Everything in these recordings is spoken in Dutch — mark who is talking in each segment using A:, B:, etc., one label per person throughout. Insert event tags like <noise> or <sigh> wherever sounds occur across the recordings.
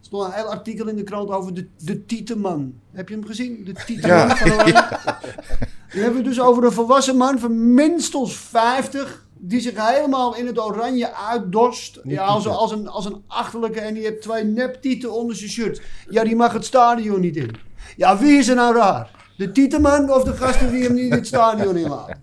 A: stond een heel artikel in de krant over de, de Tieteman. Heb je hem gezien? De Tieteman.
B: Ja. <laughs>
A: van Oranje. Dan hebben we het dus over een volwassen man van minstens 50. Die zich helemaal in het oranje uitdorst.
B: Niet
A: Ja, als,
B: Tieter.
A: als, een, als een achterlijke. En die heeft twee neptieten onder zijn shirt. Ja, die mag het stadion niet in. Ja, wie is er nou raar? De tietenman of de gasten die hem niet het stadion inlaten?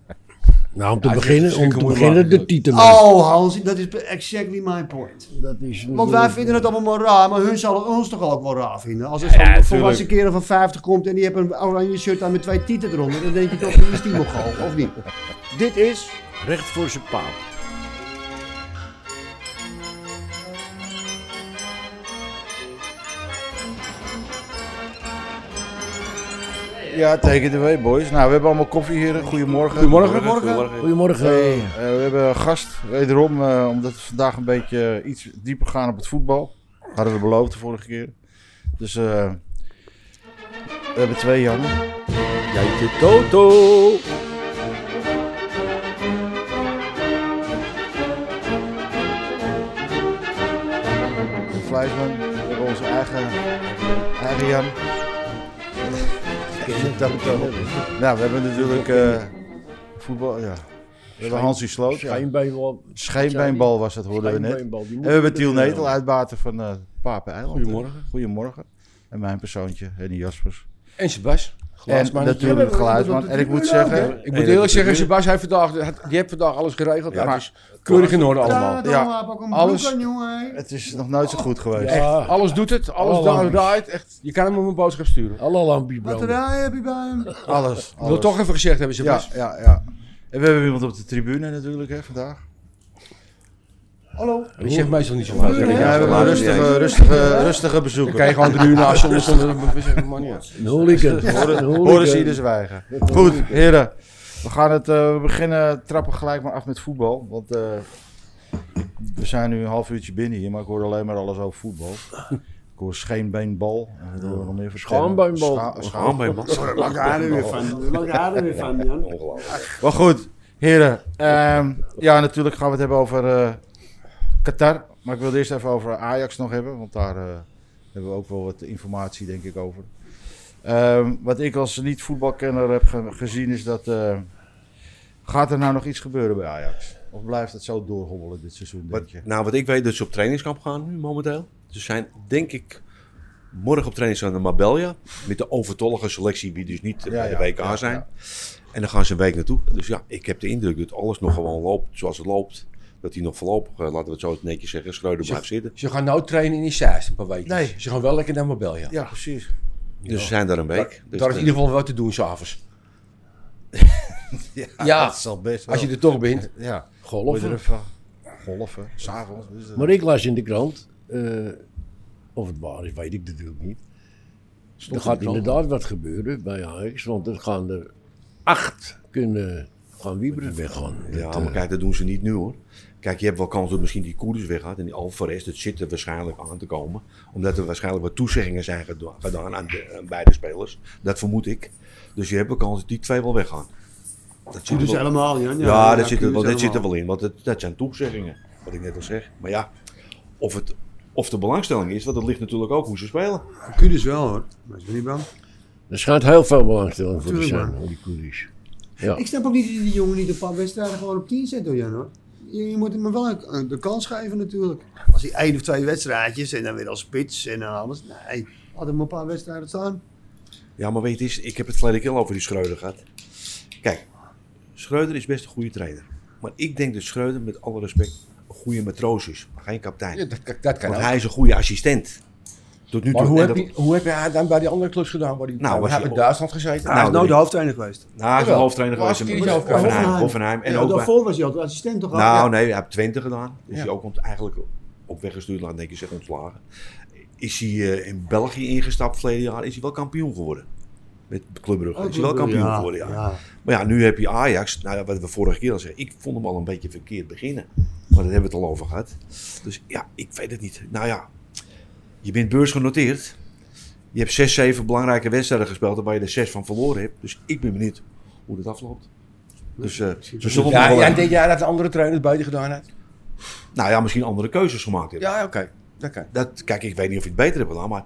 C: Nou, om te
B: Ja, het is
C: beginnen, om
B: zeker
C: te
B: mooi
C: beginnen
B: maken.
C: de titel.
A: Oh, Hans, dat is exactly my point.
C: Dat is
A: Want wij vinden het allemaal maar raar, maar hun zullen ons toch ook wel raar vinden. Als er
B: Ja,
A: zo'n
B: tuurlijk.
A: volwassen kerel van 50 komt en die heeft een oranje shirt aan met twee tieten eronder, dan denk je toch, die is die Mongool, of niet? Dit is
C: recht voor zijn paap.
B: Ja, take it away, boys. Nou, we hebben allemaal koffie hier. Goedemorgen.
C: Goedemorgen.
B: Eh, eh, we hebben een gast, wederom, eh, omdat we vandaag een beetje eh, iets dieper gaan op het voetbal. Hadden we beloofd de vorige keer. Dus eh, we hebben twee Jannen.
D: Jantje Toto.
B: Een Fleischman. We hebben onze eigen, eigen Jan. Toto. Nou, we hebben natuurlijk eh, voetbal, ja. We hebben Hansie Sloot. ja.
C: Schijnbeenbal.
B: Schijnbeenbal was dat, hoorden we net. En
C: Schijnbeenbal, die moet
B: we hebben Tiel
C: erin houden.
B: Netel, uitbater van eh Papen Eiland.
D: Goedemorgen.
B: Goedemorgen. En mijn persoontje, Henny Jaspers.
D: En Sebas.
B: En
C: Glaasmannetje.
A: Ja,
B: natuurlijk
A: we hebben dat op
B: geluidsman.
A: de
B: En ik moet
A: tribune ook, hè?
B: zeggen...
D: Ik moet eerlijk zeggen, Sebas heeft vandaag, had- die heeft vandaag alles geregeld.
B: Ja,
D: maar
B: het
D: keurig in orde allemaal.
A: Daar,
B: Ja.
A: heb ik ook een
D: Alles-
A: broek aan, jongen. hè.
B: Het is nog nooit zo goed geweest.
C: Ja,
D: Alles doet het, alles
C: Alle
D: daar
C: lampjes.
D: draait. Echt, je kan hem op een boodschap sturen.
C: alle lampjes branden.
A: Batterij heb je bij hem.
B: Alles.
D: Ik wil
B: alles.
D: toch even gezegd hebben,
B: Ja,
D: Sebas.
B: ja, ja. En we hebben iemand op de tribune natuurlijk hè, vandaag.
A: Hallo.
D: Die zegt meestal niet zo vaak.
A: Ja,
B: Ja,
A: ja,
B: we
A: ja.
B: hebben een rustige, rustige, rustige
D: Dan
B: bezoeker.
D: kan je gewoon drie uur na zonder zonder we zeggen, man ja.
C: Een hooligan. Een hooligan.
B: Horen ze dus- ieder zwijgen. Goed, heren. We gaan het eh, we beginnen, trappen gelijk maar af met voetbal. Want eh, we zijn nu een half uurtje binnen hier, maar ik hoor alleen maar alles over voetbal. Ik hoor scheenbeenbal. En wat horen we nog meer voor termen?
C: Schaambeenbal.
B: Scha- schaam-
D: man.
A: Maak haar er weer van. Maak haar er weer van, Jan.
B: Maar goed, heren. ehm, ja, natuurlijk gaan we het hebben over eh, Qatar. Maar ik wilde eerst even over Ajax nog hebben. Want daar eh, hebben we ook wel wat informatie, denk ik, over. Ehm, wat ik als niet-voetbalkenner heb ge- gezien is dat... eh, gaat er nou nog iets gebeuren bij Ajax? Of blijft het zo doorhobbelen dit seizoen, denk
E: Wat,
B: je?
E: nou, wat ik weet, dat ze op trainingskamp gaan nu momenteel. Ze zijn, denk ik, morgen op trainingskamp naar Marbella. Met de overtollige selectie, die dus niet eh,
B: Ja,
E: bij
B: ja,
E: de WK
B: ja,
E: zijn.
B: ja.
E: En dan gaan ze een week naartoe. Dus ja, ik heb de indruk dat alles nog gewoon loopt zoals het loopt. Dat hij nog voorlopig, eh, laten we het zo netjes zeggen, Schreuder blijft zitten.
D: Ze gaan nou trainen in die Zeist een paar weken.
B: Nee.
D: Ze gaan wel lekker naar Marbella.
B: Ja, precies.
E: Dus ze zijn daar een week. Dus
D: Daar is
E: de-
D: in ieder geval wat te doen s'avonds. ja,
B: Dat zal best
D: als je
B: wel.
D: er toch bent.
B: Ja,
D: Golven.
B: golven. Golven, s'avonds. Dus, eh,
C: Maar ik las in de krant, eh, of het waar is, weet ik natuurlijk niet. er
D: in
C: gaat
D: de krant?
C: inderdaad wat gebeuren bij Ajax, want er gaan er acht kunnen gaan wieberen weggaan.
E: Ja, maar kijk, dat doen ze niet nu hoor. Kijk, je hebt wel kans dat misschien die Koerders weggaat en die Alvarez, dat zit er waarschijnlijk aan te komen. Omdat er waarschijnlijk wat toezeggingen zijn gedo- gedaan aan, de- aan beide spelers. Dat vermoed ik. Dus je hebt wel kans dat die twee wel weggaan. Dat
A: Zie
E: zit er
A: dus
E: wel,
A: helemaal, Jan.
E: Oh, ja, dat, zit er wel, dat zit er wel in, want het, dat zijn toezeggingen, wat ik net al zeg. Maar ja, of, het, of de belangstelling is, want dat ligt natuurlijk ook hoe ze spelen.
A: Kun dus wel, hoor. Maar is niet bang.
C: Er schijnt heel veel belangstelling voor te
A: Tuurlijk,
C: zijn,
A: man.
C: al die koeries. Ja.
A: Ik snap ook niet dat je die jongen niet een paar wedstrijden gewoon op 10 zet door Jan hoor. Je, je moet hem wel een- de kans geven natuurlijk. Als hij één of twee wedstrijdjes en dan weer als spits en dan alles. Nee, had hem een paar wedstrijden staan.
E: Ja, maar weet je, het is- ik heb het verleden keer al over die Schreuder gehad. Kijk, Schreuder is best een goede trainer. Maar ik denk dat Schreuder, met alle respect, een goede matroos is. Maar geen kapitein.
D: Ja, dat, kan- dat kan
E: Want
D: ook.
E: hij is een goede assistent. Tot nu toe.
D: Maar hoe
E: En
D: heb,
E: dat-
D: je, hoe heb je haar dan bij die andere clubs gedaan? Waar die,
E: Nou, was
D: hij
E: je-
D: in Duitsland gezeten.
E: Nou, dat-
A: hoofdtrainer geweest.
E: Nou, hij is een
D: Jawel.
E: hoofdtrainer
D: Maar
E: geweest.
D: als
E: in
D: die is ook-
E: Hoffenheim. Hoffenheim. En
A: En
E: ook bij-
A: daarvoor was hij ook assistent toch al?
E: Nou,
A: Ja.
E: nee, hij heeft Twente gedaan. Is
D: Ja.
E: hij ook ont- eigenlijk op weggestuurd, laat denk ik zeggen, ontslagen. Is hij eh, in België ingestapt verleden jaar, is hij wel kampioen geworden. Met Club Brugge.
A: Oh,
E: is hij wel
A: Club Brugge,
E: kampioen
A: ja.
E: geworden, ja.
A: Ja.
E: Maar ja, nu heb je Ajax. Nou, ja, wat we vorige keer al zeiden. Ik vond hem al een beetje verkeerd beginnen. Maar daar hebben we het al over gehad. Dus ja, ik weet het niet. Nou ja, je bent beursgenoteerd. Je hebt zes, zeven belangrijke wedstrijden gespeeld. Waar je er zes van verloren hebt. Dus ik ben benieuwd hoe dat afloopt. Dus eh, ze zullen
D: Ja,
E: nog wel-
D: jij denkt jij dat de andere trainers buiten gedaan had?
E: nou ja, misschien andere keuzes gemaakt hebben.
D: Ja, oké. Dat kan.
E: Dat, kijk, ik weet niet of ik het beter heb gedaan, maar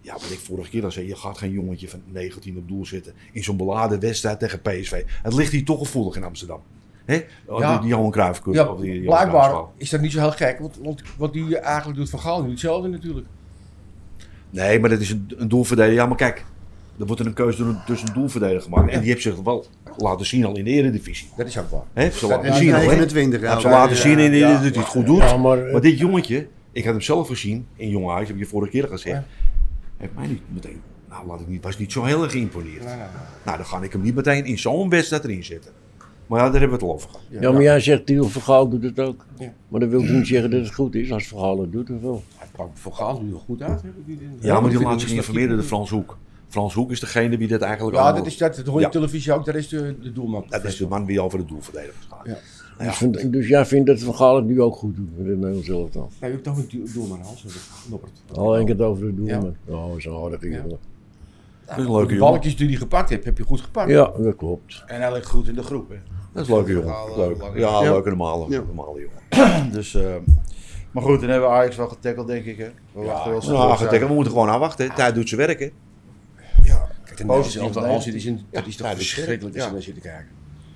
E: ja, wat ik vorige keer al zei, je gaat geen jongetje van 19 op doel zetten in zo'n beladen wedstrijd tegen PSV. Het ligt hier toch gevoelig in Amsterdam. hè? Oh,
D: Ja.
E: Die, die Johan Cruijff Cup,
D: Ja,
E: of die Johan
D: blijkbaar
E: Cruijffschaal.
D: is dat niet zo heel gek, want, want wat die eigenlijk doet van Gaal nu hetzelfde natuurlijk.
E: Nee, maar dat is een, een doelverdediger. Ja, maar kijk, er wordt er een keuze door een- tussen een doelverdediger gemaakt. En die heeft zich wel laten zien al in de eredivisie.
D: Dat is ook waar.
E: hè? Ze
D: Dat
E: laten
D: is
E: zien al, hè?
A: 29
E: Hij heeft ze
A: ja,
E: laten
A: ja,
E: zien in de
D: ja,
E: eredivisie dat hij het goed doet.
C: Ja, maar, eh,
E: Maar dit jongetje, ik had hem zelf gezien in Jong Ajax, heb ik je vorige keer gezegd. Heeft mij niet meteen, nou laat ik niet, was niet zo heel erg geïmponeerd. Nou, dan ga ik hem niet meteen in zo'n wedstrijd erin zetten. Maar ja, daar hebben we het al over gehad.
C: ja, Nou, maar jij zegt Tiel Vergaal doet het ook.
D: Ja.
C: Maar dat wil toch niet zeggen dat het goed is. Als Vergaal het doet, dan wel.
D: Hij pakt voor Gaal nu er goed uit. heb ik niet in-
E: Ja, maar die
D: Ik
E: laat
D: vind
E: zich
D: het
E: informeren, de
D: niet-
E: Frans Hoek. Frans Hoek is degene die dat eigenlijk
D: Ja,
E: allemaal-
D: dat, is, dat, dat hoor je
E: Ja.
D: op televisie ook, dat is de, de doelman.
E: Dat is de man die over de doelverdedigers gaat.
D: Ja.
E: Nou
C: Dus,
E: ja,
C: vind- dus jij vindt dat Vergaal het nu ook goed doet met het Nederlands elftal?
D: Nee, je hebt toch een du- doelman, Hans. dat is Noppert.
C: Al één keer het over de doelman. Oh, zo'n harde jongen.
E: dat is een leuke
D: De
E: jongen.
D: balkjes die hij gepakt hebt, heb je goed gepakt.
C: Ja, dat klopt.
F: En hij ligt goed in de groep. Hè.
E: Dat is een leuke
F: Ja,
E: jongen. Leuk.
F: leuk.
E: Ja,
B: Ja.
E: leuke normale,
A: Ja.
E: normale jongen.
B: Dus, eh, maar goed, dan hebben we Ajax wel getackeld, denk ik. Hè? We wachten wel eh,
E: Nou,
B: terug
E: achter
B: zijn.
E: tegen, we moeten gewoon afwachten. hè. Tijd doet zijn werk, hè.
D: Kijk, en Nederlands elftal, Hans, dit is, een, dat is toch verschrikkelijk als je
B: Ja.
D: naar zit te kijken.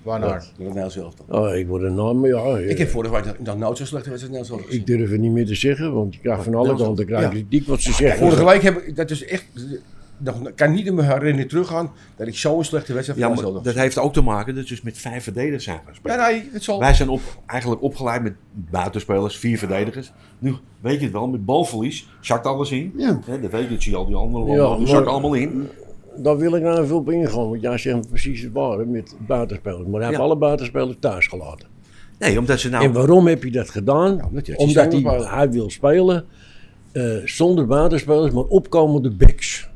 B: Waarnaar?
D: Dat Nederlands elftal.
C: Oh, ik word een naam, ja. ja.
D: Ik heb vorige week nog- nog nooit zo'n slechte wedstrijd Nederlands elftal
C: Eh, Ik
D: gezien.
C: durf het niet meer te zeggen, want je krijgt van alle
E: Nederlands-
C: kanten krijg je
D: Ja.
C: kritiek wat ze zeggen.
D: Vorige week heb ik, dat is echt, dat kan niet in mijn herinnering teruggaan, dat ik zo'n slechte wedstrijd
E: Ja,
D: van
E: maar
D: Nederlands
E: dat heeft ook te maken dat dus met vijf verdedigers zijn gaan spelen.
D: elftal. Nee, nee, het zal.
E: Wij zijn op, eigenlijk opgeleid met buitenspelers, vier verdedigers. Nu weet je het wel, met balverlies zakt alles in.
A: Ja.
E: Hè, dat weet je, het zie je al die andere
C: Ja,
E: landen, die
C: maar-
E: zakken allemaal in.
C: Daar wil ik nou even op ingaan, want jij zegt precies het ware met buitenspelers. Maar hij heeft
E: Ja.
C: alle buitenspelers thuis gelaten.
E: Nee, omdat ze
C: En
E: nou...
C: waarom heb je dat gedaan?
D: omdat hij-
C: omdat hij,
D: hij-
C: hij wil spelen eh, zonder buitenspelers, maar opkomende backs.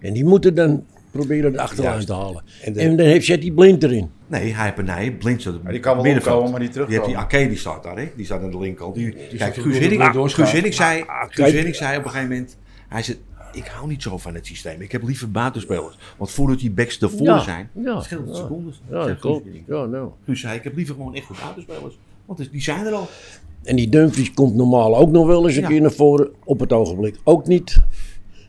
C: En die moeten dan proberen de achterlijn
E: Juist.
C: te halen. En,
E: En de-
C: dan heeft zet die blind erin.
E: Nee, hij heeft nee, blind staat op
B: die kan wel
E: middenveld.
B: opkomen, maar niet
E: Je hebt die
B: terugkomen.
E: Arke, die staat daar, hè? die staat aan de linkerkant. Die, kijk,
D: staat
E: Guus
D: door de
E: Hiddink,
D: door-
E: ah,
D: doorschuiven.
E: Guus Hiddink zei, Guus
C: kijk.
E: Hiddink zei op een gegeven moment... Hij zei, ik hou niet zo van het systeem. Ik heb liever buitenspelers. Want voordat die backs ervoor
C: Ja,
E: zijn,
C: ja,
E: scheelt het
C: ja.
E: secondes.
C: Ja, dat
E: zegt Guus
C: klopt.
E: Hiddink.
C: Ja, nou.
E: Guus zei, ik heb liever gewoon echte buitenspelers. Want die zijn er al.
C: En die Dumfries komt normaal ook nog wel eens een
E: Ja.
C: keer naar voren. Op het ogenblik ook niet.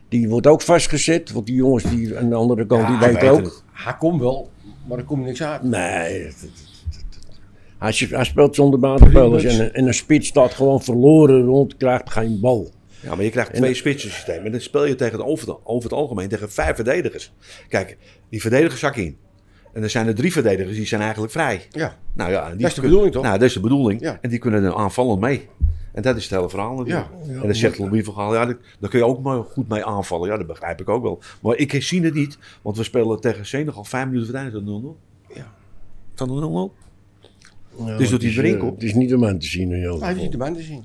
C: Die wordt ook vastgezet, want die jongens die aan de andere kant, die weten ook.
D: Hij komt wel, maar er komt niks uit.
C: Nee. het- het- het- het- Hij, sp- hij speelt zonder buitenspelers en, een- en een spits staat gewoon verloren rond, krijgt geen bal.
E: Ja, maar je krijgt twee spitsen systeem. En dan speel je tegen het over, over het algemeen tegen vijf verdedigers. Kijk, die verdedigers zakken in. En dan zijn er drie verdedigers, die zijn eigenlijk vrij.
D: Ja.
E: Nou ja, en die
D: Dat is de
E: kun-
D: bedoeling, toch?
E: Nou, dat is de bedoeling.
D: Ja.
E: En die kunnen er aanvallend mee. En dat is het hele verhaal natuurlijk. en dan zegt Louis van Gaal, ja, dat- daar kun je ook maar goed mee aanvallen. Ja, dat begrijp ik ook wel. Maar ik zie het niet, want we spelen tegen Senegal vijf minuten voor het einde tot 0-0.
D: Ja.
E: Tot 0-0.
C: Ja,
E: Dus dat
C: het
E: hij
C: is,
E: erin
C: eh,
E: komt?
C: Het is niet om aan te zien in jouw
D: Hij heeft niet de
C: geval.
D: man te zien.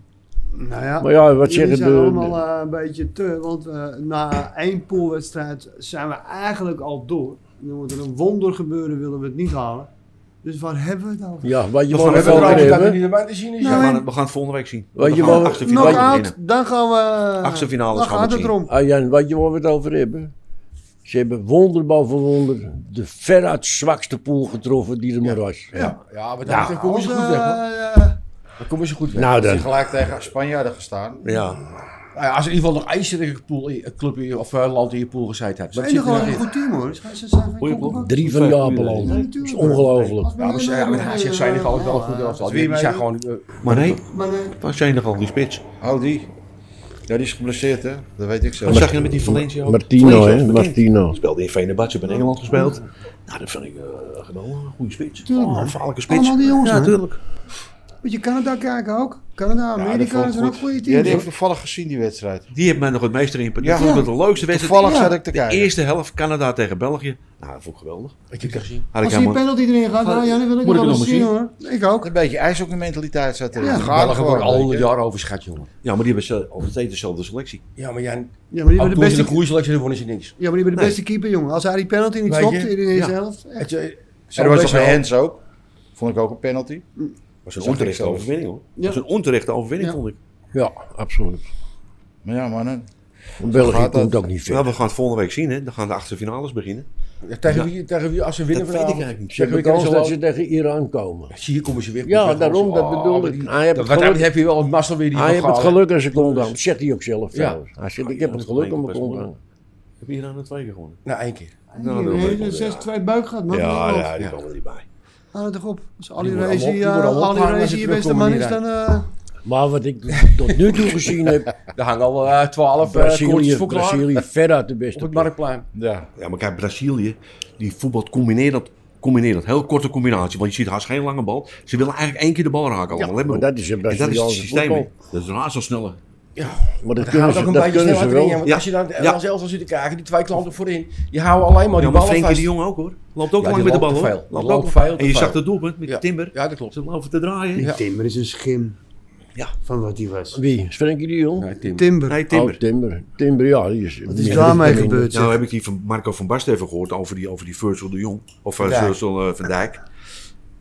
A: Nou ja,
C: Maar ja, wat
A: jullie
C: zeggen
A: zijn
C: de-
A: allemaal
C: de-
A: eh, een beetje te, want eh, na één poolwedstrijd zijn we eigenlijk al door. Dan moet er een wonder gebeuren, willen we het niet halen. Dus waar hebben we het over?
C: Ja, wat je
E: We
C: wel
E: gaan
D: We
E: het
C: over
D: hebben erover dat hij
C: hebben.
D: niet de man te zien is.
E: We
A: Nou,
D: ja.
E: gaan,
A: en-
E: we gaan het volgende week zien.
C: Weet
E: we
C: je
E: gaan
C: wel-
E: de achtste finale
A: Nou, Knock-out,
E: beginnen.
A: dan gaan we... eh,
E: Achtste finales
A: dan
E: gaan we
A: gaat
E: het
A: het
E: zien.
A: erom.
C: Ah, Jan, wat je wel het over hebben. Ze hebben wonder boven wonder de veruit zwakste pool getroffen die er maar was.
D: Ja, ja, maar daar daar komen ze goed weg. hoor.
A: Eh, eh,
D: Daar komen ze goed weg.
C: Nou dan.
B: Gelijk tegen Spanjaarden gestaan.
E: Ja,
D: Nou ja, als er in ieder geval nog ijzerige pool, in- club in- of eh, land in je pool gezeten hebt.
A: Het
D: Wat
A: is
D: zit er
A: gewoon
D: nou
A: een
D: in?
A: goed team hoor. Ze ze zijn geen
E: Goeie ploeg.
A: koppenbak.
C: Drie van Japan. Dat is ongelooflijk.
D: Ja, maar ze- ja, maar hij zegt Senegal ook wel een goed elftal. Die die zijn gewoon... eh,
E: maar nee,
A: Maar nee,
E: het was Senegal, die spits.
B: Oh, die. Ja, die is geblesseerd, hè? Dat weet ik zelf.
E: Wat zag je dan met die Valencia ook?
C: Martino,
E: Valencia
C: hè?
E: was bekend.
C: Martino.
E: Speelde in Venebadje, bij Engeland gespeeld. Nou, dat vind ik eh, geweldig. Een goede spits.
A: Tuurlijk,
E: Oh, een
A: man.
E: gevaarlijke spits.
A: Allemaal die jongens,
E: Ja,
A: man.
E: tuurlijk.
A: moet je Canada kijken ook. Canada, Amerika, dat
E: vond ik
A: zijn ook
E: goed.
A: goede
B: Ja, die
A: teams.
B: heb ik
A: hoor.
B: toevallig gezien, die wedstrijd.
E: Die heeft mij nog het meeste in.
B: Ja.
E: Ja. Dat was de leukste wedstrijd.
B: Toevallig
A: Ja.
B: zat ik te
E: De
B: kijken.
E: eerste helft Canada tegen België. Nou, dat vond ik geweldig.
D: Ik heb het gezien.
E: Had ik
A: Als die
E: helemaal-
A: penalty erin gaat, nou ja, dan wil ik het
E: Moet
A: wel
E: ik het
A: eens
E: nog
A: zien
E: maar
A: hoor. Ik ook.
B: Een beetje ijshockeymentaliteit zat erin.
A: Ja,
B: Het gaat
D: Belgen
B: gewoon,
D: worden al
B: weet
D: honderd
B: je.
D: jaar overschat, jongen.
E: Ja, maar die hebben ze altijd steeds dezelfde selectie.
D: Ja, maar Jan,
A: Ja, maar die
D: ook
A: hebben
D: toen
A: de
D: ze de
A: beste,
D: goede selectie dan wonnen ze niks.
A: ja, maar die hebben de
E: Nee.
A: beste keeper, jongen. Als hij die penalty niet
D: Weet
A: stopt
D: je?
A: in de eerste
E: Ja.
A: helft. echt.
D: Het, eh,
B: En er was
D: best
B: toch een
D: wel-
B: hands ook? Vond ik ook een penalty.
E: was een
B: Zag ik
E: onterechte
B: zelf.
E: overwinning hoor.
A: Ja.
E: was een onterechte overwinning,
A: Ja.
E: vond ik.
C: Ja, absoluut.
B: Maar ja, mannen.
C: België
B: gaat dat.
C: komt ook niet
E: Ja,
C: ver.
E: Nou, we gaan het volgende week zien. Hè. Dan gaan de achtste finales beginnen.
D: Ja, tegen,
E: Ja.
D: wie, tegen wie als ze winnen
E: Dat weet ik
D: vanavond?
E: eigenlijk niet.
D: Tegen
C: De
D: wie kunnen
C: kans
D: ze
C: dat ze
D: lopen?
C: tegen Iran komen.
D: Zie je, komen ze weer.
C: Ja,
D: Komen ze-
C: daarom,
E: oh,
C: dat bedoel
D: maar
C: ik.
D: die-
C: Hij heeft het
D: dat- Wat dat
C: Ah, geluk-
D: heb je wel het mazzel weer die
C: Hij
D: van
C: heeft Ah, het
D: Gaal, hè? Dus-
C: geluk aan zijn kont aan. Dat zegt hij ook zelf
D: Ja.
C: trouwens. Hij zegt, ik heb het geluk aan mijn kont aan.
E: Heb je hier aan het twee gewonnen?
D: Nou, één keer.
E: Nou,
A: die
E: dat wil ik
A: hele
E: wel,
A: zes
E: ja.
A: twee buik gehad, man.
E: Ja,
A: Hou
E: ja, die komen er niet bij.
A: het toch op. Als Ali
D: worden
A: Rezi eh,
D: allemaal- die worden allemaal
A: Ali
D: opgehangen als
A: Rezi
D: ze
A: je beste man
D: terugkomen
A: is,
D: hier
A: dan... eh,
C: Maar wat ik tot nu toe gezien heb,
D: <laughs> Er hangen al eh, 12 uh, koortjes
C: Brazilië,
D: voor klaar
C: Brazilië veruit de
D: op
C: beste.
D: het marktplein.
B: Ja.
E: Ja, maar kijk, Brazilië, die voetbalt combineert dat. Combineert dat. Heel korte combinatie, want je ziet haast geen lange bal. Ze willen eigenlijk één keer de bal raken allemaal. Let maar
C: maar
E: op.
C: dat is een
E: en dat is het
C: Braziliaanse
E: systeem.
C: voetbal.
E: hè. Dat is een zo sneller.
C: Maar dat
D: Hou
C: kunnen
D: toch
C: ze,
D: een
C: dat
D: beetje
C: kunnen
D: snel
C: ze
D: achterin. ja,
C: wel.
D: Want
E: Ja.
D: als je dan
E: Ja.
D: als Elsa zit te kijken, die twee klanten voorin. Je houdt alleen maar
E: Ja,
D: die
E: maar
D: ballen
E: Frenkie
D: vast.
E: de Jong ook hoor. Loopt ook
D: Ja,
E: lang
D: die
E: met de bal
D: loopt te
E: hoor.
D: veel. Die
E: Loopt
D: loopt
E: ook-
D: veel te
E: En je
D: veel.
E: zag dat doelpunt met
D: Ja.
E: Timber.
D: Ja, dat klopt.
E: Ze lopen te draaien.
A: Die
D: Ja.
A: Timber is een schim
E: Ja.
A: van wat hij was.
C: Wie? Frenkie de Jong?
D: Nee, Tim.
A: Timber.
E: Nee,
C: Timber.
E: Timber.
C: Oh, Timber. Timber, ja. Die is,
A: Wat is daarmee gebeurd? zeg?
E: Nou heb ik die van Marco van Basten even gehoord over die, over die Virgil de Jong. Of eh,
D: Dijk.
E: Virgil eh, van Dijk.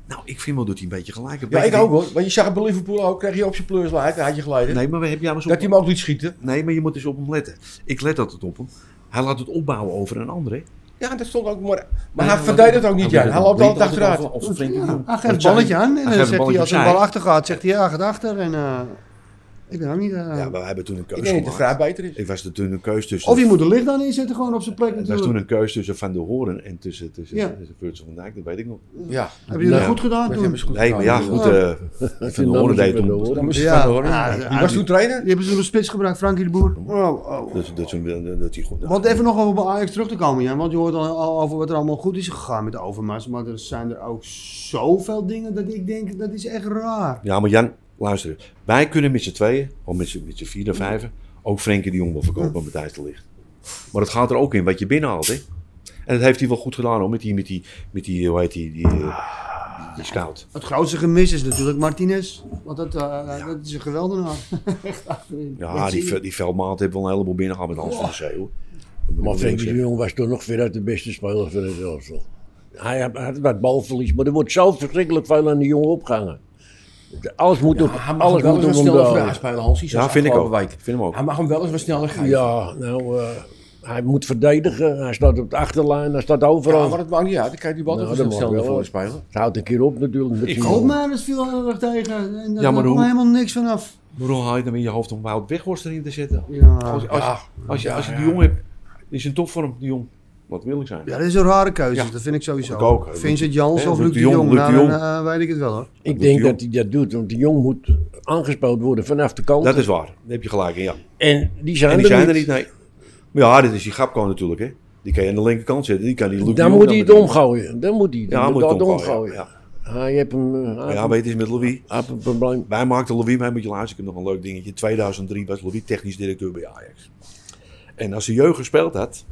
E: Nou, ik vind wel dat hij een beetje gelijk heeft.
D: Ja,
E: Weet
D: ik
E: je
D: ook
E: die-
D: hoor. Want je zag het bij Liverpool ook. Kreeg je op zijn pleurslaat. Daar had je geleden.
E: Nee, maar we hebben jou eens
D: dat hij
E: op...
D: hem ook liet schieten.
E: Nee, maar je moet eens op hem letten. Ik let altijd op hem. Hij laat het opbouwen over een ander. hè.
D: Ja, dat stond ook maar. Maar hij verdedigt het ook niet, Jan. Hij loopt altijd achteruit.
E: Of Frenkie de Jong.
A: Hij geeft
E: Want
A: het balletje
E: zij-
A: aan en
E: geeft
A: dan
E: een
A: zegt hij
E: balletje
A: als een
E: opzij.
A: bal achter gaat, zegt hij ja, gaat achter. En eh, ik ben ook niet... eh,
E: Ja, maar we hebben toen een
D: Ik
E: keuze
D: denk dat de vrij
E: gemaakt.
D: beter is.
E: Ik was er toen een keuze tussen...
A: Of je moet er licht aan inzetten gewoon op zijn plek
E: Het was toen
A: natuurlijk.
E: een keuze tussen Van der Horen en tussen, tussen,
A: Ja.
E: tussen Virgil van Dijk. Dat weet ik nog.
D: Ja.
A: Hebben jullie dat
E: Nou,
A: goed gedaan
D: Dat
A: toen?
D: hebben
A: Die
D: ze goed
E: Nee, maar ja,
D: gedaan.
E: goed.
A: Ja.
E: eh, van der Horen deed toen...
D: Dan moest je
A: Ja.
D: het van horen.
A: Ja,
D: Wie
A: ja,
D: was
A: die-
D: toen trainer?
A: hebben ze door de spits gebruikt, Frankie de Boer.
E: Dus- Dat, dat, dat, dat hij goed...
A: Want even nog over bij Ajax terug te komen, Jan. Want je hoort al, al over wat er allemaal goed is gegaan met Overmars. Maar er zijn er ook zoveel dingen dat ik denk, dat is echt raar.
E: Ja, maar Jan, luister. Wij kunnen met z'n tweeën, of met z'n, met z'n vier en vijven, ook Frenkie de Jong wel verkopen aan Matthijs de Ligt. Maar het gaat er ook in wat je binnenhaalt, hè. En dat heeft hij wel goed gedaan, hoor. Met die, met die, met die hoe heet die, die, eh, die, die scout.
A: Het grootste gemis is natuurlijk Martinez. Want dat, eh, dat is een geweldenaar. Echt achterin.
E: Ja,
A: Dat
E: die,
A: zie
E: ve-
A: je.
E: die veldmaat heeft wel een heleboel binnengehaald met Hans van der
C: Oh.
E: Zeeuw.
C: Maar Frenkie de Jong was toch nog veruit de beste speler van het elftal. Hij had, had wat balverlies, maar er wordt zo verschrikkelijk veel aan die jongen opgehangen. Alles moet op,
D: Hij mag hem
C: alles
D: wel
C: moet
D: eens
C: op
D: wat
C: hem
D: sneller
C: doen.
D: vandaag spelen, Hansie.
E: Ja, vind ik ook. Vind hem ook.
D: Hij mag hem wel eens wat sneller gaan.
C: Ja, nou, eh, hij moet verdedigen. Hij staat op de achterlijn, hij staat overal.
D: Ja, maar het maakt niet uit. Dan krijg je die bal
C: Nou,
D: toch
C: dat
D: wel
C: mag
D: sneller
C: wel.
D: voor spelen.
C: Het houdt een keer op natuurlijk. met
E: Ik
C: die
A: Ook
C: jongen.
A: maar, dat viel heel erg tegen. En daar
E: Ja,
A: ja,
E: maar hoe-
A: helemaal niks vanaf.
E: Waarom haal je dan in je hoofd om Wout Weghorst erin te zetten?
A: Ja.
E: Als, als, als je, als je die jong hebt, is een topvorm, die jong. Wat wil ik zijn?
A: ja, dat is een rare keuze. Dat vind ik sowieso.
E: Ik ook.
A: Vincent Jans
E: Hè,
A: of
E: Luc
A: Luc de Jong. Nou, dan eh, weet ik het wel hoor.
C: Ik denk
E: moet de jong-
C: dat hij dat doet, want de jong moet aangespeeld worden vanaf de kant.
E: Dat is waar. Daar heb je gelijk in, ja.
C: En die zijn,
E: En die
C: er,
E: zijn
C: niet.
E: er niet, nee. Maar ja, dit is die Gapko natuurlijk, hè. Die kan je aan de linkerkant zetten. Die kan die Luc de
C: Dan
E: Jong
C: moet hij het
E: meteen-
C: omgooien. Dan moet hij het
E: Ja, hij moet
C: inderdaad
E: het omgooien,
C: omgooien.
E: ja.
C: Hij heeft hem... eh, hij
E: Maar ja,
C: heeft
E: weet je, het is met Louis.
C: hij heeft een probleem.
E: Wij maakten Louis, maar moet je luisteren, ik heb nog een leuk dingetje. 2003 was Louis technisch directeur bij Ajax. En als de jeugd gespeeld had,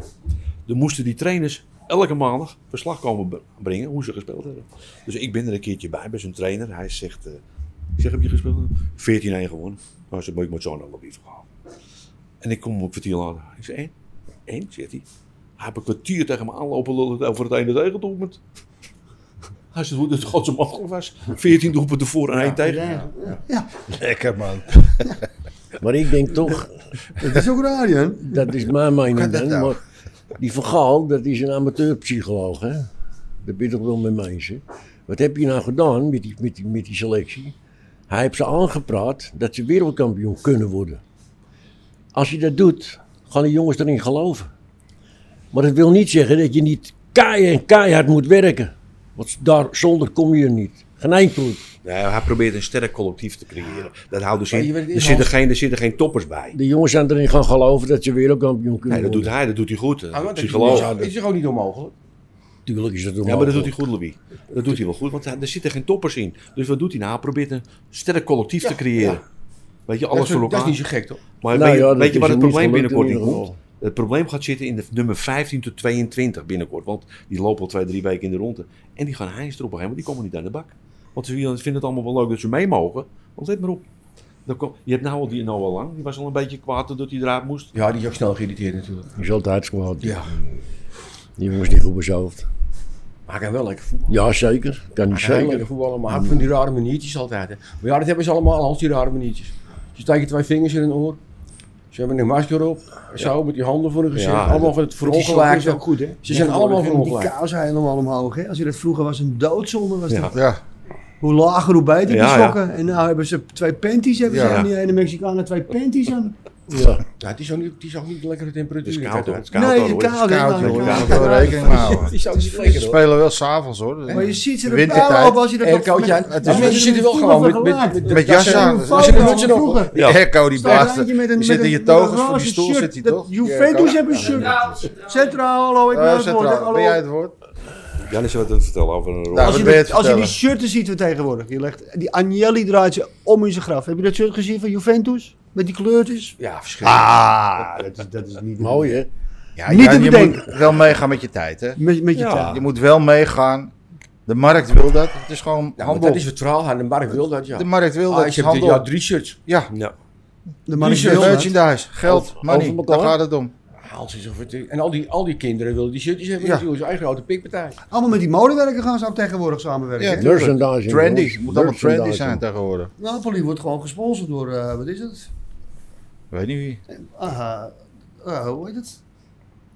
E: dan moesten die trainers elke maandag verslag komen be- brengen hoe ze gespeeld hebben. Dus ik ben er een keertje bij, bij zijn trainer. Hij zegt, eh, ik zeg, heb je gespeeld? 14-1 gewonnen. Nou, ze moet ik moet zo naar Louis verhaal. En ik kom op kwartier later. Ik zeg, één? Eén, zegt hij. Hij heeft een kwartier tegen me aanlopen lullen over het ene tegendoelpunt. Hij zegt, hoe dat godse mogelijk was. 14 doelpunten voor en één tegen.
A: Ja.
B: Lekker man.
C: Maar ik denk toch,
A: Dat is ook raar, Jan.
C: dat is mijn mening
B: Kan dat
C: dan,
B: nou?
C: maar die Van Gaal, dat is een amateurpsycholoog, hè? Daar ben je toch wel mee eens, hè? Wat heb je nou gedaan met die, met die, met die selectie? Hij heeft ze aangepraat dat ze wereldkampioen kunnen worden. Als je dat doet, gaan de jongens erin geloven. Maar dat wil niet zeggen dat je niet kei en keihard moet werken. Want daar, zonder kom je er niet. Geen enkel.
E: Nee, Nou, hij probeert een sterk collectief te creëren. Dat houdt dus
D: Maar je
E: in.
D: weet het
E: Er
D: niet,
E: zitten,
D: Hans.
E: geen, er zitten geen toppers bij.
C: De jongens zijn erin gaan geloven dat ze wereldkampioen kunnen
E: Nee, dat doet
C: worden.
E: hij, dat doet hij goed. eh,
D: Ah, want dat is-
E: Psycholoog.
D: dat is toch ook niet onmogelijk?
C: Tuurlijk is dat
E: Ja, maar dat doet
C: onmogelijk.
E: hij goed, Louis. Dat doet hij wel goed, want hij- er zitten geen toppers in. Dus wat doet hij nou? Hij probeert een sterk collectief te creëren. Weet je, alles
D: Dat is-
E: voor
D: Dat is
E: elkaar.
D: niet zo gek toch?
E: Maar
C: Nou
E: weet,
C: ja,
E: je-
C: dat
E: weet je
C: is
E: wat het
C: hem niet
E: probleem
C: gelukt in
E: binnenkort niet
C: ieder
E: komt? Het probleem gaat zitten in de nummer 15 tot 22 binnenkort. Want die lopen al twee, drie weken in de ronde. En die gaan heinst erop op een gegeven moment. Die komen niet aan de bak. Want ze vinden het allemaal wel leuk dat ze mee mogen. Want let maar op. Dan kom- je hebt nou al die Noah Lang. Die was al een beetje kwaad dat hij eruit moest.
D: Ja, die is ook snel geïrriteerd natuurlijk.
C: Je is altijd kwaad.
D: Ja.
C: Die jongens die goed bezoofd.
D: Maar hij kan wel lekker voetballen.
C: Ja, zeker. Kan niet
D: Hij kan wel
C: zeker.
D: lekker voetballen, maar hij heeft van die rare maniertjes altijd. Hè. Maar ja, dat hebben ze allemaal, al die rare maniertjes. Ze steken twee vingers in hun oor. Ze hebben een masker op, zo met die handen voor hun gezicht.
E: Ja,
D: allemaal van
A: Die
D: het
A: slaag is
D: verongelukkig.
A: ook goed, hè?
D: Ze zijn allemaal
A: Die
D: verongelukkig.
A: kaas helemaal omhoog, hè? Als je dat vroeger was, een doodzonde was
E: Ja.
A: dat.
B: Ja,
A: Hoe lager, hoe beter die
E: Ja, ja.
A: sokken. En nou hebben ze twee panties, hebben ze
B: Ja.
A: aan die ene Mexicanen twee panties aan.
C: Ja.
D: Ja, Nou, het is ook niet, het is ook niet lekkere
E: Het is
D: temperatuur.
E: koud hoor. Het
D: uiteraard.
E: is koud
A: nee,
E: hoor, hoor.
A: koud, hè?
B: koud,
A: Nou,
B: joh.
E: hoor.
B: Daar
A: koud.
B: moeten we rekening mee houden.
D: Het is ook niet
B: Ze
D: lekker hoor.
B: spelen wel s'avonds hoor.
A: Maar je ziet ze er
B: Wintertijd.
A: pauw op als je dat...
D: Aircootje aan.
A: Het
D: Die
A: is
D: mensen zitten wel gewoon met- met- met-
B: Met jas aan.
A: Een
B: Als je
A: foto
B: met
D: met z'n
A: van
D: allen-
A: vroeger.
B: Die airco die
A: Staat
B: blaast.
A: er eentje met een-
B: Die
A: met
B: zit in
A: een-
B: je
A: met een
B: togers voor
A: roze
B: die stoel
A: shirt.
B: zit hij
A: Dat
B: toch? Die
A: Juventus
B: airco.
A: heeft een shirt. Centraal, hallo, ik ben
B: Eh,
A: het woord, hè,
B: Centraal, ben jij
A: hallo.
B: het woord?
E: Jan is wat aan het vertellen over een rol.
B: Nou,
A: Als je,
B: wat ben je
A: dat-
B: te
A: als je die
B: vertellen?
A: shirten ziet we tegenwoordig, je legt, die Agnelli draait ze om in zijn graf. Heb je dat shirt gezien van Juventus? Met die kleurtjes?
D: Ja, verschrikkelijk.
A: Ah, dat is, dat is niet
C: Mooi hè?
B: Ja,
A: Niet
B: ja,
A: te
B: je
A: bedenken.
B: moet wel meegaan met je tijd, hè?
A: Met, met je
E: Ja.
A: taal.
B: Je moet wel meegaan. De markt wil dat. Het is gewoon
D: Ja, want
B: handel.
D: Nou, dat is het verhaal. En de markt wil dat, ja.
B: De markt wil
D: Ah,
B: dat.
D: ik
B: Het is
D: heb dit jaar
B: handel.
D: drie shirts.
B: Ja,
E: Ja.
A: De
B: maar
A: man
B: die
A: is heel net.
B: merchandise, geld,
C: Over-
B: money.
C: over
B: Daar
C: elkaar.
B: gaat het om.
D: Haal ze zo voor het- En al die, al die kinderen willen die shirtjes hebben.
B: Ja.
D: Ja. Die doen zijn eigen grote pikpartij.
A: Allemaal met die modewerken gaan ze ook tegenwoordig samenwerken.
B: Ja.
A: hè?
C: Merchandising.
B: Trendy.
C: jongens.
B: Het moet allemaal trendy
C: Merchandising.
B: zijn tegenwoordig.
A: Napoli wordt gewoon gesponsord door, eh, wat is het?
B: Weet niet wie.
A: Ah, eh, hoe heet het?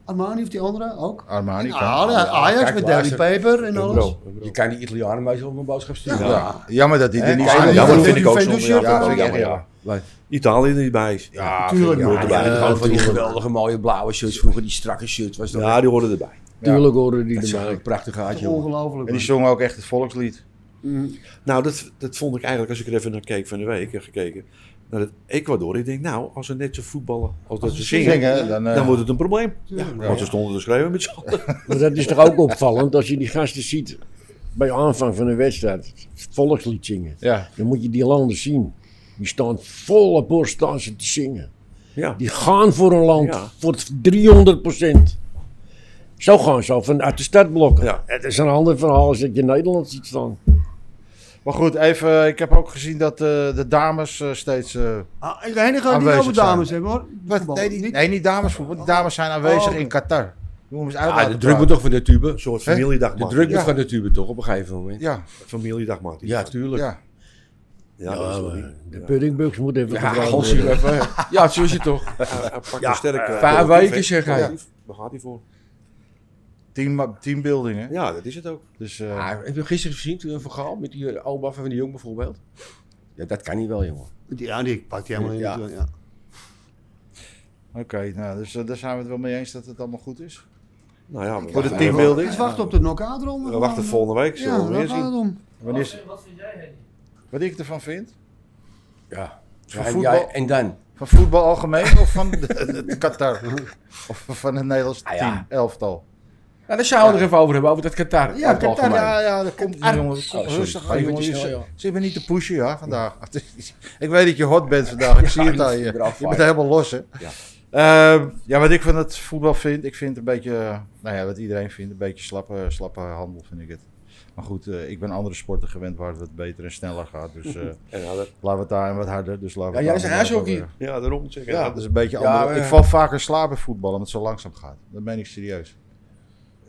A: Armani of die andere ook?
B: Armani kan.
A: Ah,
D: Ja,
A: Ajax
D: kijk,
A: met Daily
D: luister.
A: Paper en alles.
E: Bro.
D: Je kan die Italianen maar zo op een boodschap sturen.
B: Ja. Jammer dat die er
D: Eh,
B: niet
D: kijk,
B: zijn.
D: ja,
E: Jammer
A: maar-
E: vind ik ook
A: Juventus
E: zo.
A: shirt
E: Ja,
A: ook
E: vind ik
A: wel.
E: jammer, ja. Italië er niet bij is.
B: Ja,
A: Tuurlijk,
B: vind ik
A: man.
B: ook.
D: Ja,
E: Ja,
D: die gewoon van die
C: tuurlijk.
D: geweldige mooie blauwe shirts. Vroeger die strakke shirts was dat.
E: Ja, die horen erbij.
C: Tuurlijk horen die
D: dat is
C: erbij.
D: een prachtig haatje. jongen.
A: Ongelooflijk.
B: En die
A: man.
B: zongen ook echt het volkslied.
E: Nou, dat, dat vond ik eigenlijk, als ik er even naar keek van de week, ik heb gekeken naar het Ecuador. Ik denk, nou, als ze net zo voetballen als dat ze zingen,
B: Zingen, dan, eh,
E: dan wordt het een probleem.
A: Ja.
E: Want ze stonden te schrijven met z'n allen.
C: Maar dat is toch ook opvallend als je die gasten ziet bij aanvang van een wedstrijd. het Volkslied zingen.
B: Ja.
C: Dan moet je die landen zien. Die staan volle borst staan ze te zingen.
E: <laughs> Ja.
C: Die gaan voor een land,
E: Ja.
C: voor 300 Zo gaan ze al vanuit de startblokken.
E: Ja.
C: Het is een ander verhaal als dat je Nederland ziet staan.
B: Maar goed, even. Ik heb ook gezien dat eh, de dames eh, steeds. eh,
A: Ah, ik weet niet of die
B: Aanwezig
A: over
B: zijn.
A: dames hebben hoor.
B: Wat? Nee, die, nee, niet damesvoetbal. Die dames zijn
A: Oh,
B: aanwezig
A: oké.
B: in Qatar. Noem eens uit.
D: Ah,
B: laten
D: de druk moet
B: praten.
D: toch van de tube.
E: Een soort familiedag
D: De
E: maken.
D: druk
B: Ja.
D: moet van de tube toch op een gegeven moment.
B: Ja,
E: Familiedag maken.
D: Ja, tuurlijk.
B: ja.
E: Ja, dat is wel niet.
C: De puddingbugs moet even
D: Ja,
C: gedraaid
D: gos
C: worden.
D: hier even. Ja, zo is het toch.
E: Hij- hij pakt een sterke...
D: vijf
E: collectief,
D: weken,
E: hè.
D: zeg hij.
E: Collectief. Daar gaat hij voor.
B: Team, teambuilding, hè?
E: Ja, dat is het ook.
B: Dus, eh,
D: Ah, heb je gisteren gezien toen een verhaal met die eh, Alba van de Jong bijvoorbeeld? Ja, dat kan niet wel, jongen.
A: Ja, die pakt hij helemaal in.
D: Ja.
A: natuurlijk, Ja.
B: Oké, nou, dus eh, daar zijn we het wel mee eens dat het allemaal goed is.
E: Nou ja, we
B: Voor de
E: wachten-
B: teambuilding.
A: Dus wacht op de knock-out ronde.
E: We wachten
A: gewoon.
E: volgende week, zullen we
A: Ja,
E: weer
A: daar gaat het
E: zien.
A: om.
B: Wanneer is- Wat ik ervan vind?
D: Ja.
B: Van
D: Ja,
B: voetbal?
D: ja, en dan? Nou,
B: Van voetbal algemeen of van de, de <laughs> Qatar? Of van het Nederlands
D: Ah,
B: team,
D: ja.
B: elftal?
D: Nou, daar zouden we er even over hebben, over dat Qatar.
A: Ja,
D: Over het
A: Qatar,
D: algemeen.
B: Ja, ja, dat komt niet, jongen. Kom,
D: sorry.
B: rustig eh,
D: Oh,
B: aan,
D: je
B: jongen.
D: bent te
B: Je-
D: snel, ja.
B: Zit me niet te pushen, ja, vandaag. <laughs> ik weet dat je hot bent vandaag. Ik zie het aan je.
D: ik ben
B: Je
D: afwaaier.
B: bent helemaal los, hè?
E: Ja.
B: Ehm, ja, wat ik van het voetbal vind, ik vind het een beetje, eh, nou ja, wat iedereen vindt, een beetje slappe, slappe handel, vind ik het. Maar goed, eh, ik ben andere sporten gewend waar het wat beter en sneller gaat.
D: <laughs>
B: Dus eh,
E: En ja, dat-
B: laten we het daar en wat harder. Dus laten we
D: Ja,
B: het
D: jij
B: daar
D: is een
B: maar wat
D: ijshockey.
B: harder.
E: ja, daarom zeg ik.
B: Ja,
E: Ja,
B: dat is een beetje
D: Ja,
B: anders.
D: eh.
B: Ik val vaker slapen voetballen, omdat het zo langzaam gaat. Dat meen ik serieus.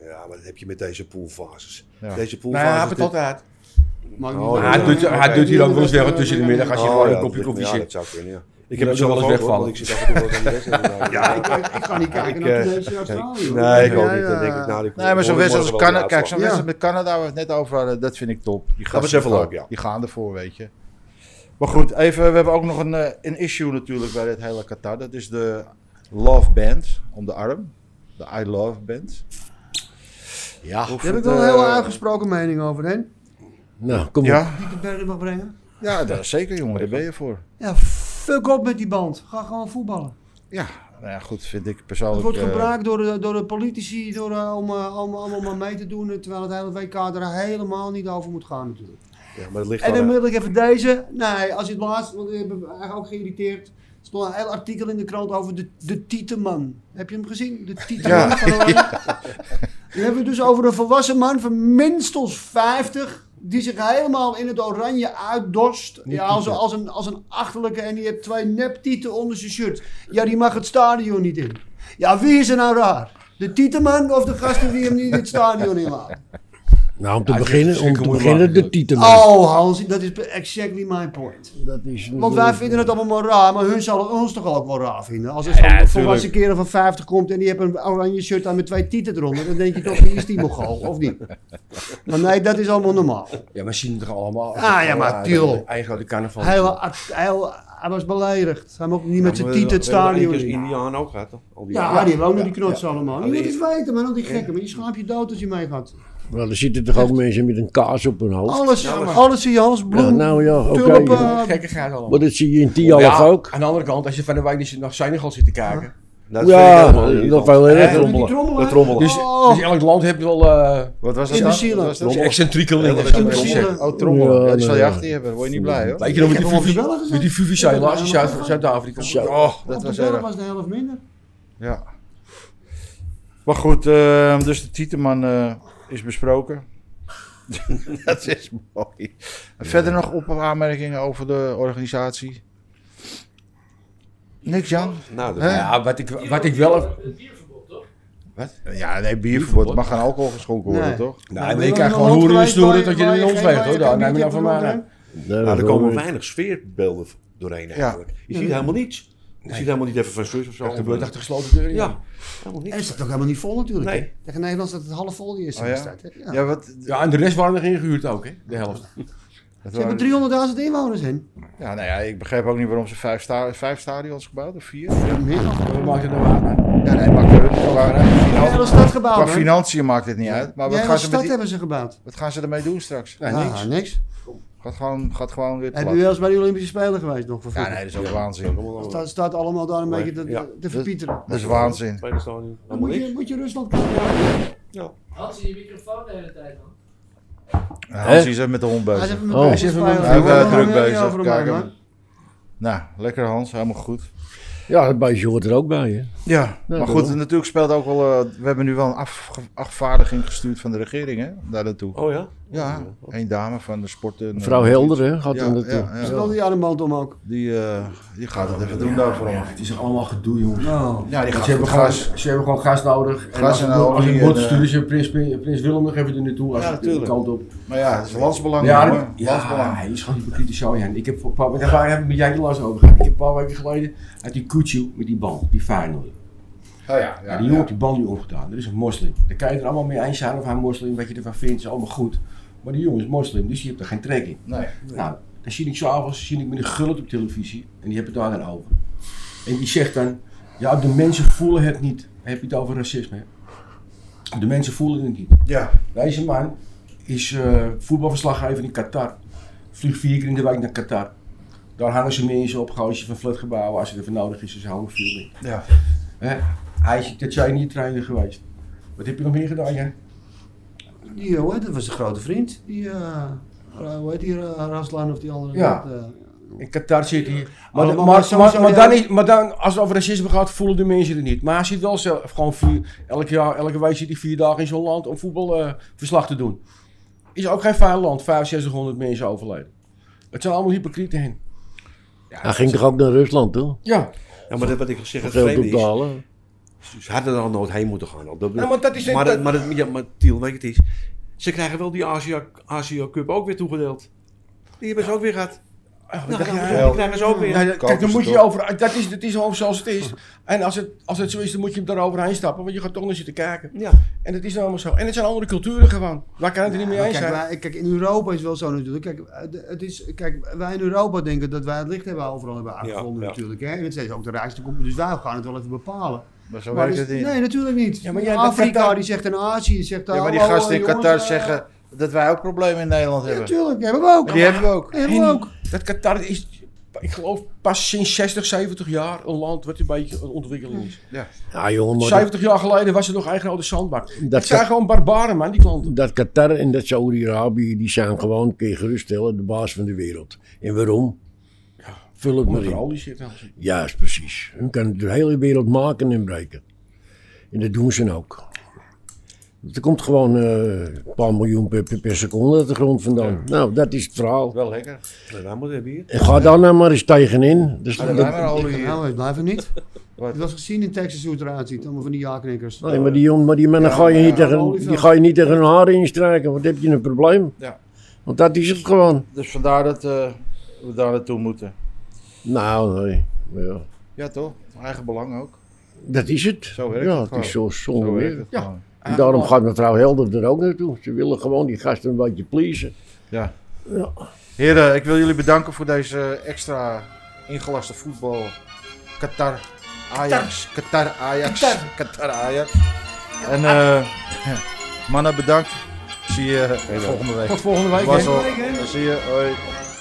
E: ja, maar dat heb je met deze poolfases.
B: Ja.
E: Deze
D: Nou, hij heeft
E: poolfases...
D: het
E: dit-
D: altijd.
A: Maakt
E: Oh,
A: niet uit.
E: ja.
D: Hij doet, hij doet hier ook wel eens weg tussen de middag als je
E: Oh,
D: gewoon
E: ja,
D: een kopje
E: dat-
D: koffie
E: ja,
D: zit.
E: dat zou kunnen, ja. Ik
D: wil
E: heb het zelf
D: wel
E: ook,
D: eens
E: hoor,
D: wegvallen.
E: want ik zit af en toe wel aan
D: <laughs>
E: die wedstrijd.
A: Ja, ik, ik ga niet kijken naar
E: eh,
A: Tunesië Australië. hoor.
E: Nee, ik ook
A: Oh, Ja,
E: niet. Dan
A: ja.
E: denk ik, nou, die
B: Nee, maar zo'n
E: hoor ik
B: wedstrijd als
E: morgen wel
B: Canada,
E: weer
B: kijk, zo'n
A: Ja.
B: wedstrijd met Canada waar we het net over hadden, dat vind ik top. Die gaan
E: is even
B: ervoor.
E: leuk, ja.
B: Die gaan ervoor, weet je. Maar goed, even, we hebben ook nog een, eh, een issue natuurlijk bij dit hele Qatar. Dat is de Love Band om de arm. De I Love Band.
D: Ja.
B: Of
A: Daar heb ik
B: het,
A: wel een heel
B: eh,
A: uitgesproken mening over, hè?
C: Nou, kom op.
B: Ja,
A: Die ik het verder mag brengen.
B: ja dat, zeker jongen, daar ben je voor.
A: Ja, fuck op met die band. Ga gewoon voetballen.
B: Ja, nou ja, goed, vind ik
A: Het
B: persoonlijk.
A: wordt
B: eh,
A: gebruikt door de, door de politici door, eh, om, eh, om, om, om maar mee te doen. eh, Terwijl het hele WK er helemaal niet over moet gaan natuurlijk.
E: op. Ja, maar het ligt
A: En dan
E: aan...
A: wil ik even deze. Nee, als je het laatst, want ik heb me eigenlijk ook geïrriteerd. Er stond een heel artikel in de krant over de, de Tieteman. Heb je hem gezien? De Tieteman.
B: Ja. <laughs>
A: Van Oranje. Dan hebben we het dus over een volwassen man van minstens 50. Die zich helemaal in het oranje uitdorst. Ja, als, als, een, als een achterlijke. En die heeft twee neptieten onder zijn shirt. Ja, die mag het stadion niet in. Ja, wie is er nou raar? De tietenman of de gasten die hem niet in het stadion inlaten?
C: Nou, om te
D: Ja, het is
C: beginnen, om
D: verschrikkelijk
C: te
D: moeilijk
C: beginnen de
D: maken,
C: titel.
A: Oh, Hansi, dat is exactly my point.
C: Dat is
A: Want wij
C: natuurlijk-
A: vinden het allemaal maar raar, maar hun zullen ons toch ook wel raar vinden. Als er zo'n volwassen kerel van 50 komt en die heeft een oranje shirt aan met twee tieten eronder, dan denk je toch, wie is die mogol, of niet? Maar nee, dat is allemaal normaal.
D: Ja, maar zien het er allemaal.
A: Ah, ja, maar tuurlijk.
D: Eigen grote carnaval.
A: Hij, wa- hij, wa- hij was beledigd. Hij mocht niet met zijn tieten het stadion
E: in.
A: in.
E: Indiaan ook gehad, toch? Al die
A: Ja,
E: jaren.
A: die wonen die
E: Ja,
A: knots
E: ja.
A: allemaal. Je
E: Alleen-
A: moet eens weten, maar dan die gekken, maar die schaap je dood als je mee gaat.
C: Maar er zitten toch ook mensen met een kaas op hun hoofd.
A: Alles, alles in je hals, bloem,
C: Ja, nou ja, oké.
A: tulpen,
D: Gekkigheid allemaal.
C: Maar dat zie je in Tialf
D: Ja,
C: ook.
D: Aan de andere kant, als je van de wijk dus naar Senegal zit te kijken.
E: Nou, Dat vind ik
C: Ja,
E: helemaal niet
C: dat
E: irritant.
C: wel heel
A: eh,
C: erg
A: die
C: rommelen.
A: trommelen.
E: Dat rommelen.
D: Dus,
A: Oh.
D: dus elk land heeft wel eh
B: Wat was dat
A: In de
B: dan?
A: zielen.
B: Wat was dat?
D: zijn excentrieke
B: Ja,
D: dingen.
B: dat
D: Weet
B: is
D: je
B: een
A: de
B: trommel.
A: zielen.
B: Oh, trommel.
C: Ja,
B: Ja, die zal je
C: nee.
B: achter je hebben. Word je niet blij, hoor.
D: nog met die
A: heb hem
D: Fufi-
A: overbellen gezet.
D: met die Fufi's
A: Ik heb hem
D: uit Zuid-
A: overbellen.
D: Zuid-Afrika.
B: Oh,
A: Dat
B: dat
A: was,
B: was
A: zelf
B: erg.
A: was de helft minder.
B: Ja. Maar goed, ehm, dus de Tieteman eh, is besproken. <laughs> dat is mooi. Verder nog op aanmerkingen over de organisatie? Niks, Jan?
E: Nou, dat-
B: Hè?
D: Ja, wat ik, wat ik wel... Nou,
B: Ja, nee, bierverbod. Nou. mag aan alcohol geschonken worden,
A: Nee.
B: toch?
D: maar je krijgt gewoon hoeren en snoeren tot je er niet ons weegt, hoor. Daar neem je nou van mij aan.
E: Nou, er komen weinig sfeerbeelden doorheen eigenlijk. Je ziet
A: Ja.
E: helemaal niets. Je ziet helemaal niet even van zus of zo.
D: Dat gebeurt achter gesloten deuren.
E: Ja, helemaal
A: En het
E: niks.
A: staat ook helemaal niet vol natuurlijk.
E: Nee.
A: hè. Tegen Nederland staat het half vol die eerste
B: Oh ja?
A: wedstrijd. hè. Ja.
B: Ja, wat...
D: Ja, en de rest waren er ingehuurd ook, hè? De helft.
B: dat
A: Ze
B: waren-
A: hebben 300.000 inwoners in.
B: ja, nou ja, ik begrijp ook niet waarom ze vijf, sta- vijf stadions gebouwd of vier.
A: Ja, meer nog.
D: Wat maakt het nou uit?
B: Ja, nee, maakt het niet uit.
A: Ja, hele stad gebouwd.
B: Qua
A: hè.
B: financiën maakt het niet uit. Maar
A: Ja,
B: wat
A: hele
B: gaan, ze
A: stad
B: met die-
A: hebben ze gebouwd.
B: wat gaan ze ermee doen straks?
D: Nee,
A: Ah,
D: niks.
A: niks.
B: Gaat gewoon, gaat gewoon weer
A: Heb
B: plat.
A: je wel eens bij de Olympische Spelen geweest nog? Voor
B: Ja, nee, dat is ook waanzin.
E: Allemaal
A: staat, staat allemaal daar een
E: Nee,
A: beetje te,
E: ja.
A: te verpieteren.
B: Dat is waanzin.
E: bij de stadion.
A: Dan
E: Helemaal
A: moet
E: niks.
A: je, moet je Rusland kijken.
F: Hans, die microfoon de hele tijd, man.
B: Hans is even met de hond
A: Hij is
B: bezig.
A: even met
C: Oh.
A: Olympische
D: Hij is even
A: Spelen.
B: Hij is
A: Ja,
B: eh, druk
A: maar- ja,
B: bezig.
A: voor
B: Kijk
A: mij,
B: hem.
A: man.
B: Nou, lekker Hans, helemaal goed.
C: Ja, dat beestje hoort er ook bij, hè.
B: Ja,
C: Ja,
B: maar
C: dat
B: goed,
C: wel.
B: natuurlijk speelt ook wel. eh, we hebben nu wel een afge- afvaardiging gestuurd van de regering, hè? Daar naartoe.
E: Oh ja?
B: Ja, één dame van de sporten. eh,
C: Mevrouw Helder, hè, gaat
B: Ja,
C: er naartoe.
B: ja, ja.
A: Stel die armband om ook.
B: Die, eh, die gaat het even doen daarvoor. Oh Ja,
D: Het is allemaal gedoe, jongens.
B: die
D: Want
B: gaat
D: Nou, Ze hebben,
B: voor
D: gewoon,
B: gas.
D: ze hebben gewoon gas nodig. En
B: Gas
D: als,
B: en
D: het- als
B: olie
D: het
B: en,
D: wordt,
B: eh,
D: sturen ze Prins, Prins Willem nog even er naartoe. Als
B: Ja,
D: het de
B: natuurlijk.
D: kant op.
B: Maar ja, het is landsbelang.
D: Ja,
B: hoor.
D: dat- ja,
B: Landsbelang.
D: Oh, Ah, hij is gewoon hypocriet zo, Jan. Ik heb een paar, daar waar heb ik met jij de last over gehad. Ik heb een paar weken geleden uit die Kutsu met die band, die final.
B: Ja, ja, ja,
D: die jongen heeft die band nu omgedaan. Er is een moslim. Daar kan je het er allemaal mee eens zijn of hij moslim, wat je ervan vindt, is allemaal goed. Maar die jongen is moslim, dus die hebt er geen trek in.
B: Nee.
D: Nou, dan zie ik s'avonds zie ik meneer Gullit op televisie en die hebben het daar dan over. En die zegt dan, ja de mensen voelen het niet. Dan heb je het over racisme. hè? De mensen voelen het niet.
B: Ja.
D: Deze man is eh, voetbalverslaggever in Qatar. Vliegt vier keer in de week naar Qatar. Daar hangen ze mensen op, gozer van flatgebouwen. Als het even nodig is, is ze hangen veel in.
B: Ja.
D: Hè? Hij is dat zijn niet trainer geweest. Wat heb je nog meer gedaan, Jan?
A: Die, eh, hoe heet het, was een grote vriend. Die, eh, eh, hoe heet die, eh, Raslan of die andere?
D: Ja.
A: Dat, eh,
D: In Qatar zit hij. Maar,
A: Allemaal
D: maar,
A: maar
D: maar,
A: sowieso
D: maar
A: de
D: dan
A: helft.
D: is, maar dan, als het over racisme gaat, voelen de mensen het niet. Maar hij zit wel zelf, gewoon vier, elk jaar, elke week zit hij vier dagen in zo'n land om voetbalverslag te doen. Is ook geen fijn land, 6500 mensen overleden. Het zijn allemaal hypocrieten hen.
C: Hij ging toch ook naar Rusland, toch?
D: Ja,
E: Ja, maar dat, wat ik zeg, het
C: Geld
E: vreemde
C: op te
E: is,
C: halen.
E: Dus ze hadden er al nooit heen moeten gaan. Al. Dat,
D: Ja, maar dat is-
E: maar,
D: dat-
E: maar, dat- ja, maar Tiel, weet je het is, ze krijgen wel die Asia, Asia Cup ook weer toegedeeld. Die hebben ze ook weer gehad.
D: Ah, wat
E: Nou,
D: dacht
E: ja,
D: jij?
E: die krijgen ze ook weer.
D: Nou, ja, kijk,
B: Kopen
D: dan
B: ze
D: moet je
B: toch?
D: over. Dat is, dat is gewoon zoals het is. En als het, als het zo is, dan moet je hem overheen stappen, want je gaat toch naar zitten kijken.
E: Ja.
D: En dat is nou allemaal zo. En het zijn andere culturen gewoon. Waar kan het er niet mee
A: Maar
D: eens
A: kijk,
D: zijn?
A: wij- kijk, in Europa is wel zo natuurlijk. Kijk, eh, de- het is, kijk, wij in Europa denken dat wij het licht hebben overal hebben aangevonden
E: ja.
A: natuurlijk. Hè? En het is ook de rijkste komt, dus wij gaan het wel even bepalen.
B: Maar zo
A: Maar
B: werkt
A: dus-
B: het niet.
A: Nee, natuurlijk niet.
D: Ja, maar jij-
A: Afrika
D: Qatar-
A: die zegt en Azië zegt
B: Ja, maar die
A: hallo,
B: gasten in
A: jongens,
B: Qatar
A: eh,
B: zeggen dat wij ook problemen in Nederland
A: Ja,
B: hebben.
A: natuurlijk, hebben we ook.
B: Die hebben we ook.
A: Hebben we
D: En
A: ook.
D: Dat Qatar is, ik geloof, pas sinds 60, 70 jaar een land wat een beetje een ontwikkeling is.
C: Ja, jongen, maar dat,
D: 70 jaar geleden was er nog eigen oude zandbak. Dat zijn
C: kan-
D: gewoon barbaren, man, die klanten.
C: dat Qatar en dat Saudi-Arabië, die zijn gewoon, kun je geruststellen, de baas van de wereld. En waarom? Vul het maar
D: Omdat er
C: in.
D: al die shit aan zit.
C: Juist, precies. Hun kan de hele wereld maken en breken. En dat doen ze ook. Er komt gewoon eh, een paar miljoen per, per, per seconde uit de grond vandaan. Nou, dat is het verhaal.
B: Wel lekker.
E: Nou, daar moeten we hebben hier.
C: En ga daar nou maar eens tegenin. Dus
B: Daar
C: dat-
B: zijn we al hier.
A: Nou, het blijft er niet.
B: <laughs> Wat?
A: Je was gezien in Texas hoe het eruit ziet. Allemaal van die jaknikkers.
C: Nee, maar die, jong- maar die mannen
B: Ja,
C: ga, je
B: maar
C: niet
A: ja,
C: tegen,
A: olievel.
C: die ga je niet tegen hun haren instrijken, want dan heb je een probleem.
B: Ja.
C: Want dat is het gewoon.
B: Dus vandaar dat eh, we daar naartoe moeten.
C: Nou, nee. Ja.
B: Ja, toch? Eigen belang ook.
C: Dat is het.
B: Zo werkt
C: ja,
B: het
C: is zo zonder
B: Zo werkt
C: meer.
B: het
A: Ja.
B: gewoon.
C: En daarom gaat mevrouw Helder er ook naartoe. Ze willen gewoon die gasten een beetje pleasen.
B: Ja.
C: Ja.
B: Heren, ik wil jullie bedanken voor deze extra ingelaste voetbal. Qatar, Ajax, Qatar, Ajax, Qatar, Ajax. En eh <laughs> mannen, bedankt. Zie je eh, volgende week.
D: Tot volgende week. hè.
B: Wassel, zie je. Hoi.